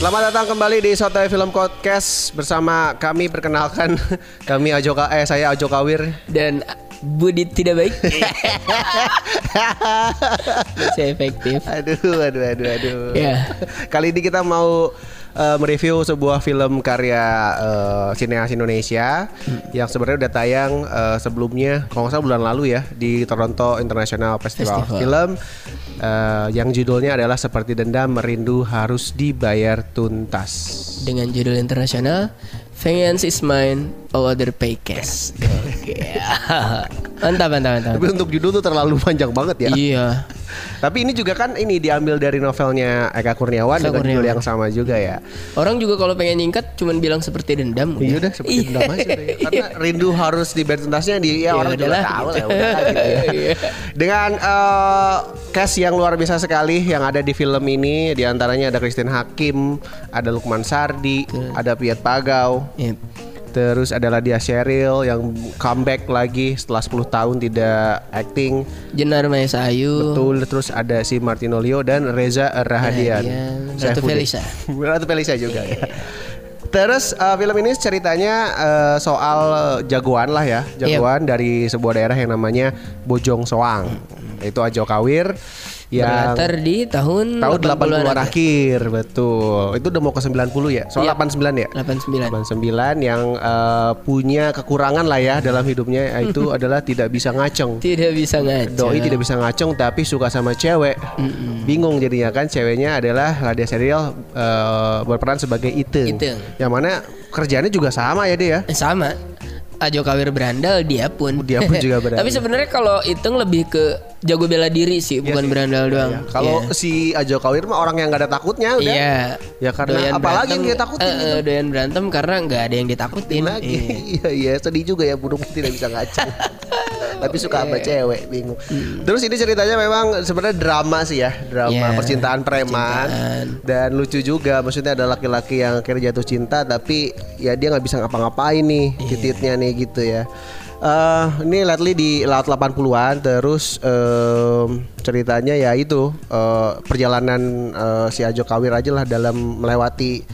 Selamat datang kembali di Sotoy Film Podcast bersama kami perkenalkan kami Ajoka eh saya Ajo Kawir. Dan Budi tidak baik. Saya efektif. Aduh aduh aduh aduh. Ya. Kali ini kita mau eh, mereview sebuah film karya eh, sineas Indonesia Hmm. yang sebenarnya udah tayang eh, sebelumnya kalau nggak salah bulan lalu ya di Toronto International Festival, Festival. Film eh, yang judulnya adalah Seperti Dendam Merindu Harus Dibayar Tuntas. Dengan judul internasional Vengeance is mine, all other pay cash. Oke. mantap, mantap, mantap. Tapi untuk judul tuh terlalu panjang banget ya. Iya. Tapi ini juga kan ini diambil dari novelnya Eka Kurniawan Eka dengan judul Kurniawan. yang sama juga ya. Orang juga kalau pengen nyingkat cuman bilang seperti dendam. Iya. Iya udah seperti dendam aja udah ya. Karena rindu harus dibayar tuntasnya di ya, Ya orang juga udahlah, tahu lah gitu. udahlah gitu ya. Iya. Dengan eh, cast yang luar biasa sekali yang ada di film ini di antaranya ada Christine Hakim, ada Lukman Sardi, ada Piet Pagau. Iya. Terus ada Ladia Sheryl yang comeback lagi setelah 10 tahun tidak acting. Jenar Maesa Ayu. Betul, terus ada si Martino Leo dan Reza Rahadian. Rahadian. Ratu Saifuddin. Felisa. Iya. Ratu Felisa juga ya. Terus eh, film ini ceritanya eh, soal jagoan lah ya, Iya. jagoan dari sebuah daerah yang namanya Bojong Soang. Itu Ajo Kawir yang Berlatar di Iya. tahun tahun 80-an 80-an akhir. akhir, betul. Itu udah mau ke 90 ya. Soal Iya. 89 ya. 89. 89 yang eh, punya kekurangan lah ya dalam hidupnya yaitu adalah tidak bisa ngaceng. Tidak bisa ngaca. Doi tidak bisa ngacung tapi suka sama cewek. Bingung jadinya kan ceweknya adalah Radia Serial eh, berperan sebagai Iteng. Iteng. Yang mana kerjaannya juga sama ya dia. Eh, sama Ajo Kawir berandal dia pun Dia pun juga berandal. tapi sebenarnya kalau hitung lebih ke jago bela diri sih Iya bukan sih. berandal doang Ya, Kalau si Ajo Kawir mah orang yang nggak ada takutnya iya udah. Ya karena apalagi yang dia takutin eh, eh, gitu. doyan berantem karena nggak ada yang ditakutin lagi. Iya. Iya iya sedih juga ya burung tidak bisa ngacung. Tapi suka sama cewek bingung. Terus ini ceritanya memang sebenarnya drama sih ya, drama Iya, percintaan preman percintaan. dan lucu juga. Maksudnya ada laki-laki yang akhirnya jatuh cinta tapi ya dia nggak bisa ngapa-ngapain nih Iya. titiknya nih gitu ya. Eh ini lately di laut 80-an terus em, ceritanya ya itu eh, perjalanan eh, si Ajo Kawir aja lah dalam melewati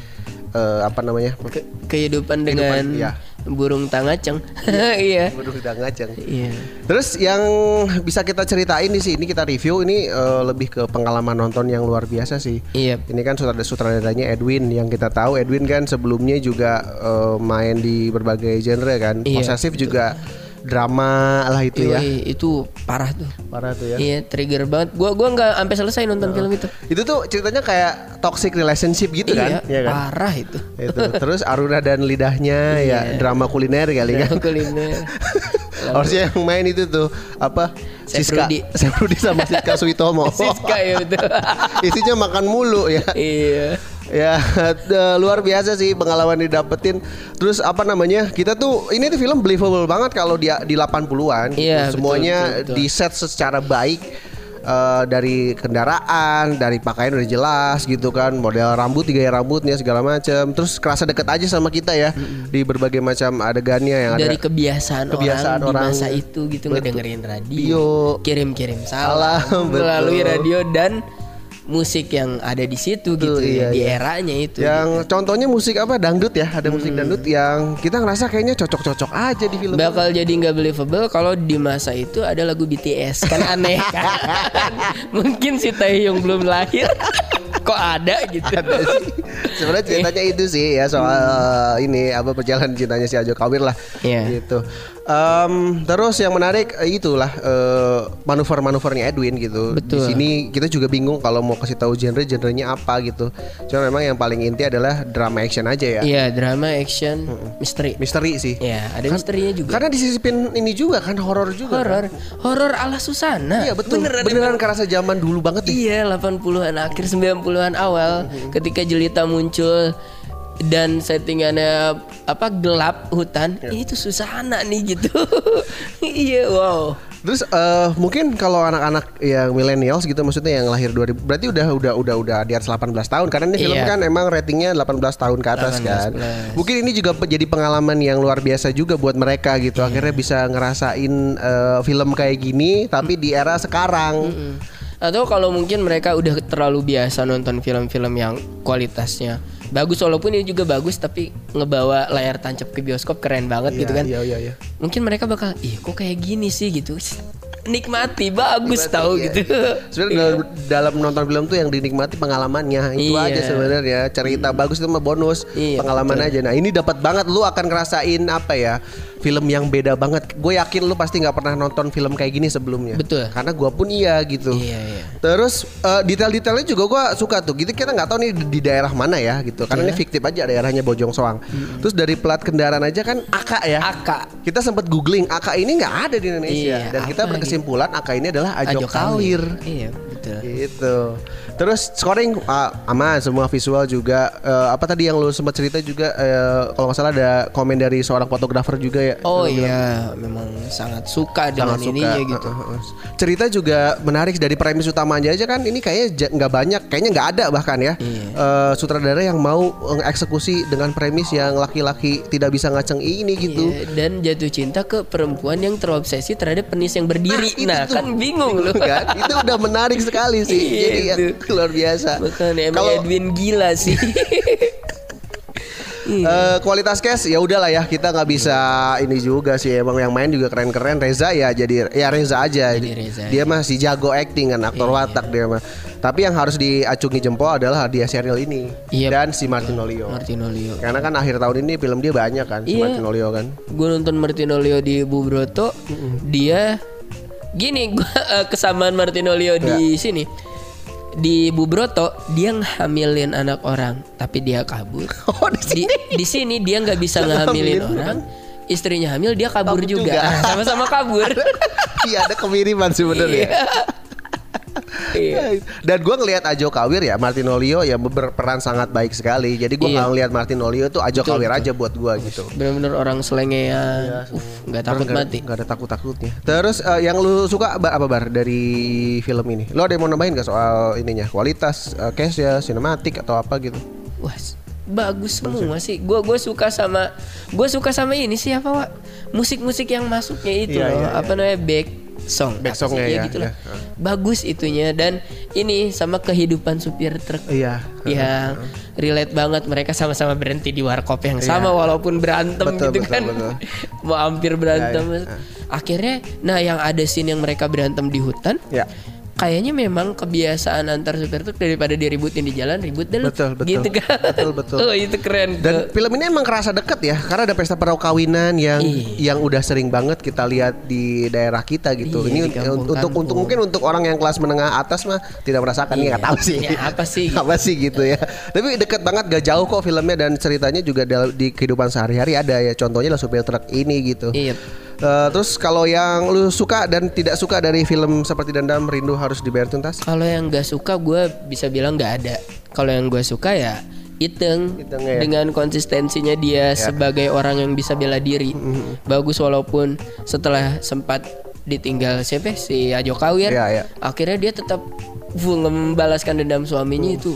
eh, apa namanya Ke- kehidupan dengan iya. burung tangaceng iya Waduh udah ngaceng. iya Terus yang bisa kita ceritain di sini kita review ini eh, lebih ke pengalaman nonton yang luar biasa sih. Iya. Ini kan sutradara sutradaranya Edwin yang kita tahu Edwin kan sebelumnya juga eh, main di berbagai genre kan. Iya, Posesif juga drama lah itu ya. Yoi, itu parah tuh Parah tuh ya. iya trigger banget gua gua nggak sampai selesai nonton film itu Itu tuh ceritanya kayak toxic relationship gitu iya, kan? Iya kan? parah itu Itu. Terus Aruna dan lidahnya ya Iya. drama kuliner kali kan. kuliner Harusnya yang main itu tuh apa? Siska, Sefrudi. Sefrudi sama Siska Suitomo. Siska ya betul Isinya makan mulu ya. iya Ya eh, luar biasa sih pengalaman didapetin. Terus apa namanya? Kita tuh ini tuh film believable banget kalau dia di 80-an. gitu. Iya, betul, Semuanya betul, betul. di set secara baik. eh, dari kendaraan, dari pakaian udah jelas gitu kan, model rambut, gaya rambutnya segala macam. Terus kerasa deket aja sama kita ya di berbagai macam adegannya yang dari ada kebiasaan, kebiasaan orang, orang. di masa itu gitu ngedengerin radio, Bio. kirim-kirim salam Salam, betul. melalui radio dan musik yang ada di situ gitu iya, ya, di iya. eranya itu. gitu. yang contohnya musik apa dangdut ya ada musik dangdut yang kita ngerasa kayaknya cocok-cocok aja di film bakal jadi nggak believable kalau di masa itu ada lagu BTS kan aneh kan? mungkin si Taehyung belum lahir kok ada gitu sebenarnya ceritanya itu sih ya soal uh, ini apa perjalanan cintanya si Ajo Kawir lah Iya. gitu Em, terus yang menarik eh, itulah eh, manuver-manuvernya Edwin gitu di Betul. sini kita juga bingung kalau mau kasih tahu genre genrenya apa gitu cuma memang yang paling inti adalah drama action aja ya iya drama action misteri misteri sih ya ada misterinya juga karena disisipin ini juga kan horor juga kan? horor horor ala Susana iya betul beneran, kerasa zaman dulu banget deh Mm-hmm. Iya, 80-an akhir 90-an awal ketika Jelita muncul dan settingannya apa gelap hutan Iya. ini tuh Susana nih gitu iya wow Terus eh, mungkin kalau anak-anak yang millennials gitu maksudnya yang lahir 2000 berarti udah udah udah udah di atas 18 tahun karena ini film Iya. kan emang ratingnya 18 tahun ke atas kan. 18 plus. Mungkin ini juga pe- jadi pengalaman yang luar biasa juga buat mereka gitu. Iya. Akhirnya bisa ngerasain eh, film kayak gini tapi di era sekarang. atau kalau mungkin mereka udah terlalu biasa nonton film-film yang kualitasnya bagus walaupun ini juga bagus tapi ngebawa layar tancap ke bioskop keren banget gitu kan Iya iya iya. mungkin mereka bakal ih kok kayak gini sih gitu nikmati bagus Nikmati, tahu iya. gitu Sebenarnya dalam, dalam nonton film tuh yang dinikmati pengalamannya itu Iya. Hmm. aja sebenarnya cerita bagus itu mah bonus Iya, pengalaman aja. Nah ini dapat banget lu akan ngerasain apa ya film yang beda banget. Gue yakin lu pasti nggak pernah nonton film kayak gini sebelumnya. Betul. Karena gue pun iya gitu. Iya, iya. Terus eh, detail-detailnya juga gue suka tuh. Gitu kita nggak tahu nih di daerah mana ya gitu. Karena ini Iya. fiktif aja daerahnya Bojong Soang. Terus dari plat kendaraan aja kan AK ya. Aka Kita sempat googling AK ini nggak ada di Indonesia Iya, dan kita apa berkesimpulan AK ini adalah ajok, kawir. iya betul Gitu. Terus scoring ah, aman semua visual juga Eh, apa tadi yang lu sempat cerita juga eh, kalau nggak salah ada komen dari seorang fotografer juga ya. Oh Lu bilang iya, memang sangat suka dengan sangat ini suka. gitu. Heeh, heeh. Cerita juga menarik dari premis utamanya aja kan ini kayaknya ja- nggak banyak, kayaknya nggak ada bahkan ya. Iya. Eh, sutradara yang mau eksekusi dengan premis yang laki-laki tidak bisa ngaceng ini gitu. Iya, dan jatuh cinta ke perempuan yang terobsesi terhadap penis yang berdiri. Ah, itu Nah, tuh. kan bingung loh. kan itu udah menarik sekali sih Iya, jadi ya, itu. luar biasa Bukan emang ya kalau Edwin gila sih. Iya. eh, kualitas cash ya udahlah ya kita nggak bisa ini juga sih emang yang main juga keren-keren Reza ya jadi ya Reza aja Jadi Reza dia Iya. masih jago acting kan aktor watak dia mah tapi yang harus diacungi jempol adalah dia serial ini Iya, dan si Martinolio Martinolio. karena kan akhir tahun ini film dia banyak kan si Iya. Martinolio kan Gue nonton Martinolio di Bubroto, dia gini gua eh, kesamaan Martinolio Ya. di sini. Di Bubroto dia ngehamilin anak orang, tapi dia kabur. Oh, di di, di sini dia nggak bisa ngehamilin Ngehamilin orang. Istrinya hamil dia kabur, Kabur juga. juga. Ah, Sama-sama kabur. iya ada kemiriman sebenarnya Iya. Dan gue ngelihat Ajo Kawir ya Martinolio ya berperan sangat baik sekali. Jadi gue Iya. nggak ngelihat Martinolio tuh Ajo Kawir aja buat gue gitu. Bener-bener orang selengean. Uff, nggak takut Iya, Nggak- mati. nggak ada takut takutnya. Terus eh, yang lu suka ba- apa bar dari film ini? Lo ada yang mau nambahin gak soal ininya kualitas eh, case ya, sinematik atau apa gitu? Wah, s- bagus ya? semua sih. Gue gue suka sama gue suka sama ini sih apa Wak? Musik-musik yang masuknya itu Iya, loh. iya, apa namanya back song. Back Apa songnya sih? ya, gitu lah. iya. Bagus itunya dan ini sama kehidupan supir truk. Iya. yang relate banget mereka sama-sama berhenti di warkop yang sama walaupun berantem Iya. Betul, gitu betul, kan betul. mau hampir berantem Ya, ya. akhirnya nah yang ada scene yang mereka berantem di hutan Ya. kayaknya memang kebiasaan antar supir truk daripada diributin di jalan ribut deh lu. Betul, betul. gitu kan Betul, betul. oh itu keren Dan film ini emang kerasa deket ya karena ada pesta perkawinan yang Iya. yang udah sering banget kita lihat di daerah kita gitu. Iya, ini di kampung-kampung. untuk untuk mungkin untuk orang yang kelas menengah atas mah tidak merasakan ini nggak tahu sih. Ya, apa sih? apa sih gitu ya. Tapi deket banget gak jauh kok filmnya dan ceritanya juga dalam di kehidupan sehari-hari ada ya. Contohnya lah supir truk ini gitu. Iya. Eh, terus kalau yang lu suka dan tidak suka dari film seperti Dendam Rindu harus dibayar tuntas? kalau yang gak suka gue bisa bilang gak ada kalau yang gue suka ya Iteng Iteng ya. dengan konsistensinya dia sebagai orang yang bisa bela diri Mm-hmm. bagus walaupun setelah sempat ditinggal siapa si Ajo Kawir Iya, iya. akhirnya dia tetap full membalaskan dendam suaminya Mm-hmm. itu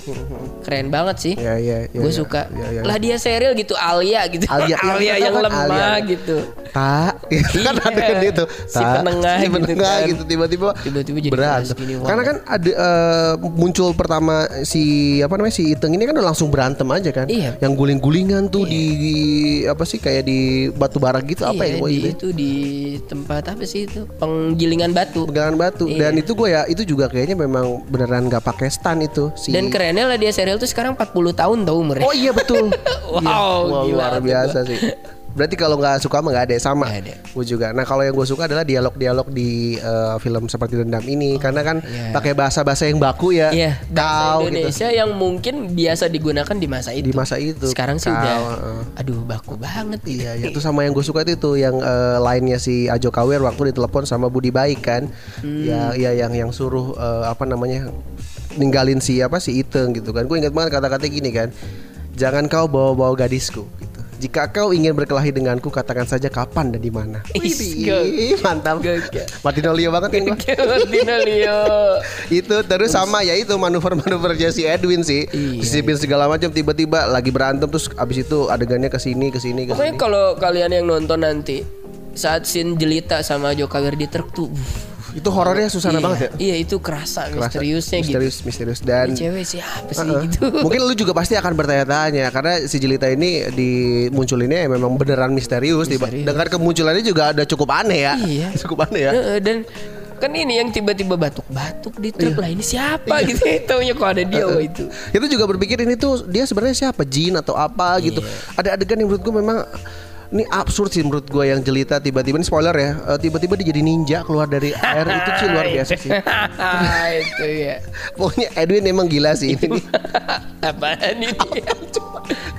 keren banget sih Iya, iya, iya, gue iya. suka Iya, iya. lah dia serial gitu Alia gitu Alia, iya, bener yang kan, lemah Alia. gitu tak gitu kan Iya. ada kan dia tuh Si "Tak." penengah si gitu penengah kan. gitu, tiba-tiba Tiba-tiba jadi berat keras gini, wah. karena kan ada eh, muncul pertama si apa namanya si Iteng ini kan udah langsung berantem aja kan Iya. yang guling-gulingan tuh di, di- apa sih kayak di batu bara gitu apa ya Iya, gua di, gitu ya? itu di tempat apa sih itu penggilingan batu pegangan batu Iya. dan itu gue ya itu juga kayaknya memang beneran nggak pakai stand itu si Dan kerennya lah dia serial tuh sekarang 40 tahun tau umurnya. oh iya betul Wow, Iya. Wah, gila luar tuh biasa sih berarti kalau nggak suka mah nggak ada sama Nggak ada. gue juga nah kalau yang gue suka adalah dialog-dialog di eh, film seperti dendam ini karena kan iya. pakai bahasa-bahasa yang baku ya Iya, bahasa kau gitu Indonesia yang mungkin biasa digunakan di masa Di itu. masa itu, Sekarang sih kau, udah heeh. aduh baku banget Iya, iya. Itu sama yang gue suka itu tuh yang eh, lainnya si Ajo Kawir waktu ditelepon sama Budi Baik kan. Hmm. Ya, ya yang yang suruh eh, apa namanya ninggalin si apa si Iteng gitu kan. Gue ingat banget kata-kata gini kan. Jangan kau bawa-bawa gadisku gitu. Jika kau ingin berkelahi denganku katakan saja kapan dan di mana. Is, Widih, go- Mantap. gokil. Martinolio banget kan gua. Martino Iya Leo. itu terus sama ya itu manuver-manuvernya si Edwin sih. Iya, Disipin segala macam tiba-tiba lagi berantem terus abis itu adegannya ke sini ke sini ke Pokoknya sini. kalau kalian yang nonton nanti saat scene jelita sama Joka Wirdi Truk tuh uh, Itu horornya susana iya, banget ya. Iya, itu kerasa, Kerasa misteriusnya misterius, gitu. misterius Dan dan cewek siapa sih Uh-uh. gitu. Mungkin lu juga pasti akan bertanya-tanya karena si Jelita ini dimunculinnya ya memang beneran misterius, tiba Misterius. dengan kemunculannya juga ada cukup aneh ya. Iya. cukup aneh ya. Heeh, dan kan ini yang tiba-tiba batuk-batuk di truk Iya. lah ini siapa gitu. Taunya kok ada dia wah itu. Itu juga berpikir ini tuh dia sebenarnya siapa jin atau apa gitu. Iya. Ada adegan yang menurut gue memang ini absurd sih menurut gue yang jelita tiba-tiba ini spoiler ya eh, tiba-tiba dia jadi ninja keluar dari air itu sih luar biasa sih itu ya. pokoknya Edwin emang gila sih ini Apaan ini?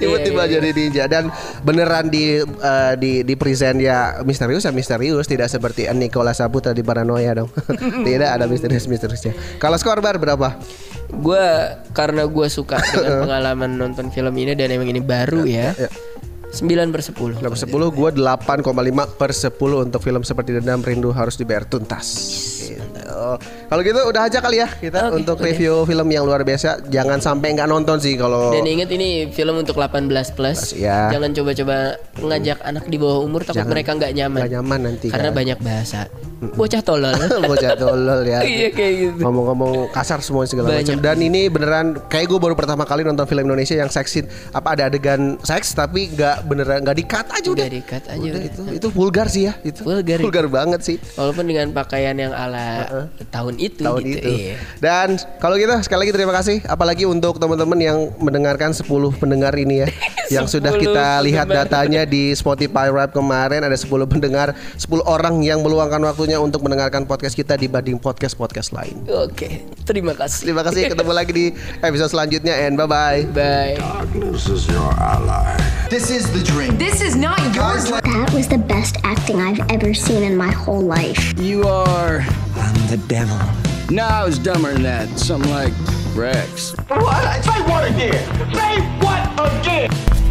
tiba-tiba Iya, iya, jadi ninja dan beneran di eh, di di present ya misterius ya misterius tidak seperti Nicola Saputra di paranoia dong tidak ada misterius misteriusnya kalau skor bar berapa Gue karena gue suka dengan pengalaman nonton film ini dan emang ini baru ya. ya. 9 per 10 Nomor 10 gue 8,5 per 10 untuk film seperti dendam rindu harus dibayar tuntas. Gitu. Kalau gitu udah aja kali ya kita Oke, untuk udah. review film yang luar biasa. Jangan sampai nggak nonton sih kalau Dan inget ini film untuk 18 plus Iya. Jangan coba-coba ngajak anak di bawah umur Takut Jangan. mereka nggak nyaman Nggak nyaman nanti, Karena kan. banyak bahasa Bocah tolol bocah tolol ya. Iya kayak gitu Ngomong-ngomong kasar semua segala macam. Banyak. Dan ini beneran kayak gue baru pertama kali nonton film Indonesia yang seksin apa ada adegan seks tapi nggak beneran nggak dikat aja udah. Udah dikat aja Udah udah. itu itu vulgar sih ya itu. Vulgar. Vulgar banget sih. Walaupun dengan pakaian yang ala tahun itu tahun gitu itu. iya. Dan kalau gitu sekali lagi terima kasih apalagi untuk teman-teman yang mendengarkan 10 pendengar ini ya yang sudah 10 kita lihat pendengar. datanya di Spotify Rap kemarin ada 10 pendengar, 10 orang yang meluangkan waktunya untuk mendengarkan podcast kita dibanding podcast-podcast lain. Oke terima kasih Terima kasih ketemu lagi di episode selanjutnya and bye bye. Bye Darkness is your ally. This is the dream. This is not your dream. That was the best acting I've ever seen in my whole life. You are. I'm the devil. No, I was dumber than that. Something like Rex. What? Say what again? Say what again?